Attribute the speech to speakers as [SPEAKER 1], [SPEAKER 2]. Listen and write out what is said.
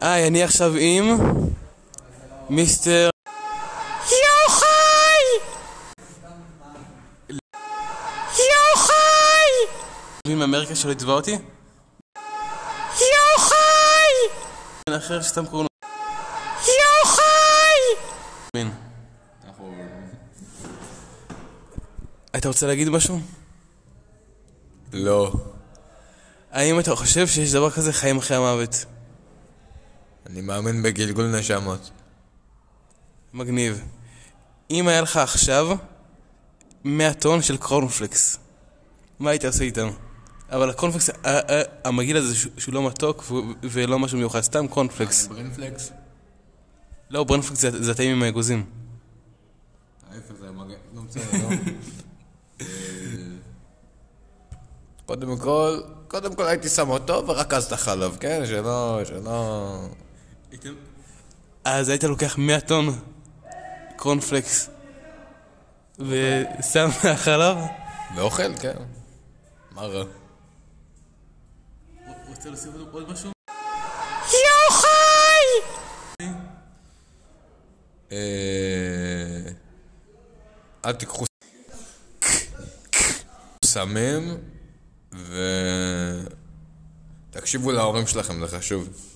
[SPEAKER 1] היי, אני עכשיו עם מיסטר
[SPEAKER 2] יוחאי! יוחאי!
[SPEAKER 1] לוין מאמריקה שלא יתבע אותי,
[SPEAKER 2] יוחאי!
[SPEAKER 1] בן אחר שסתם קוראים לו
[SPEAKER 2] יוחאי!
[SPEAKER 1] לוין. אתה רוצה להגיד משהו?
[SPEAKER 3] לא,
[SPEAKER 1] האם אתה חושב שיש דבר כזה חיים אחרי המוות?
[SPEAKER 3] אני מאמין בגלגול נשמות.
[SPEAKER 1] מגניב. אם היה לך עכשיו 100 טון של קורנפלקס, מה היית עושה איתם? אבל הקורנפלקס ה- ה- המגעיל הזה שהוא שהוא לא מתוק והוא- ולא משהו מיוחד, סתם קורנפלקס.
[SPEAKER 3] ברינפלקס?
[SPEAKER 1] לא, ברנפלקס זה זה הטעים עם האגוזים.
[SPEAKER 3] ההפך זה המגן, לא משנה, לא. קודם כל, קודם כל הייתי שם אותו ורכז את החלב, כן? שלא, שלא...
[SPEAKER 1] אז היית לוקח 100 טון קורנפלקס ושם מהחלב?
[SPEAKER 3] ואוכל, כן. מה רע?
[SPEAKER 1] רוצה להוסיף עוד משהו?
[SPEAKER 2] יוחאי!
[SPEAKER 3] אה, אל תיקחו סמים ו... תקשיבו להורים שלכם, זה חשוב.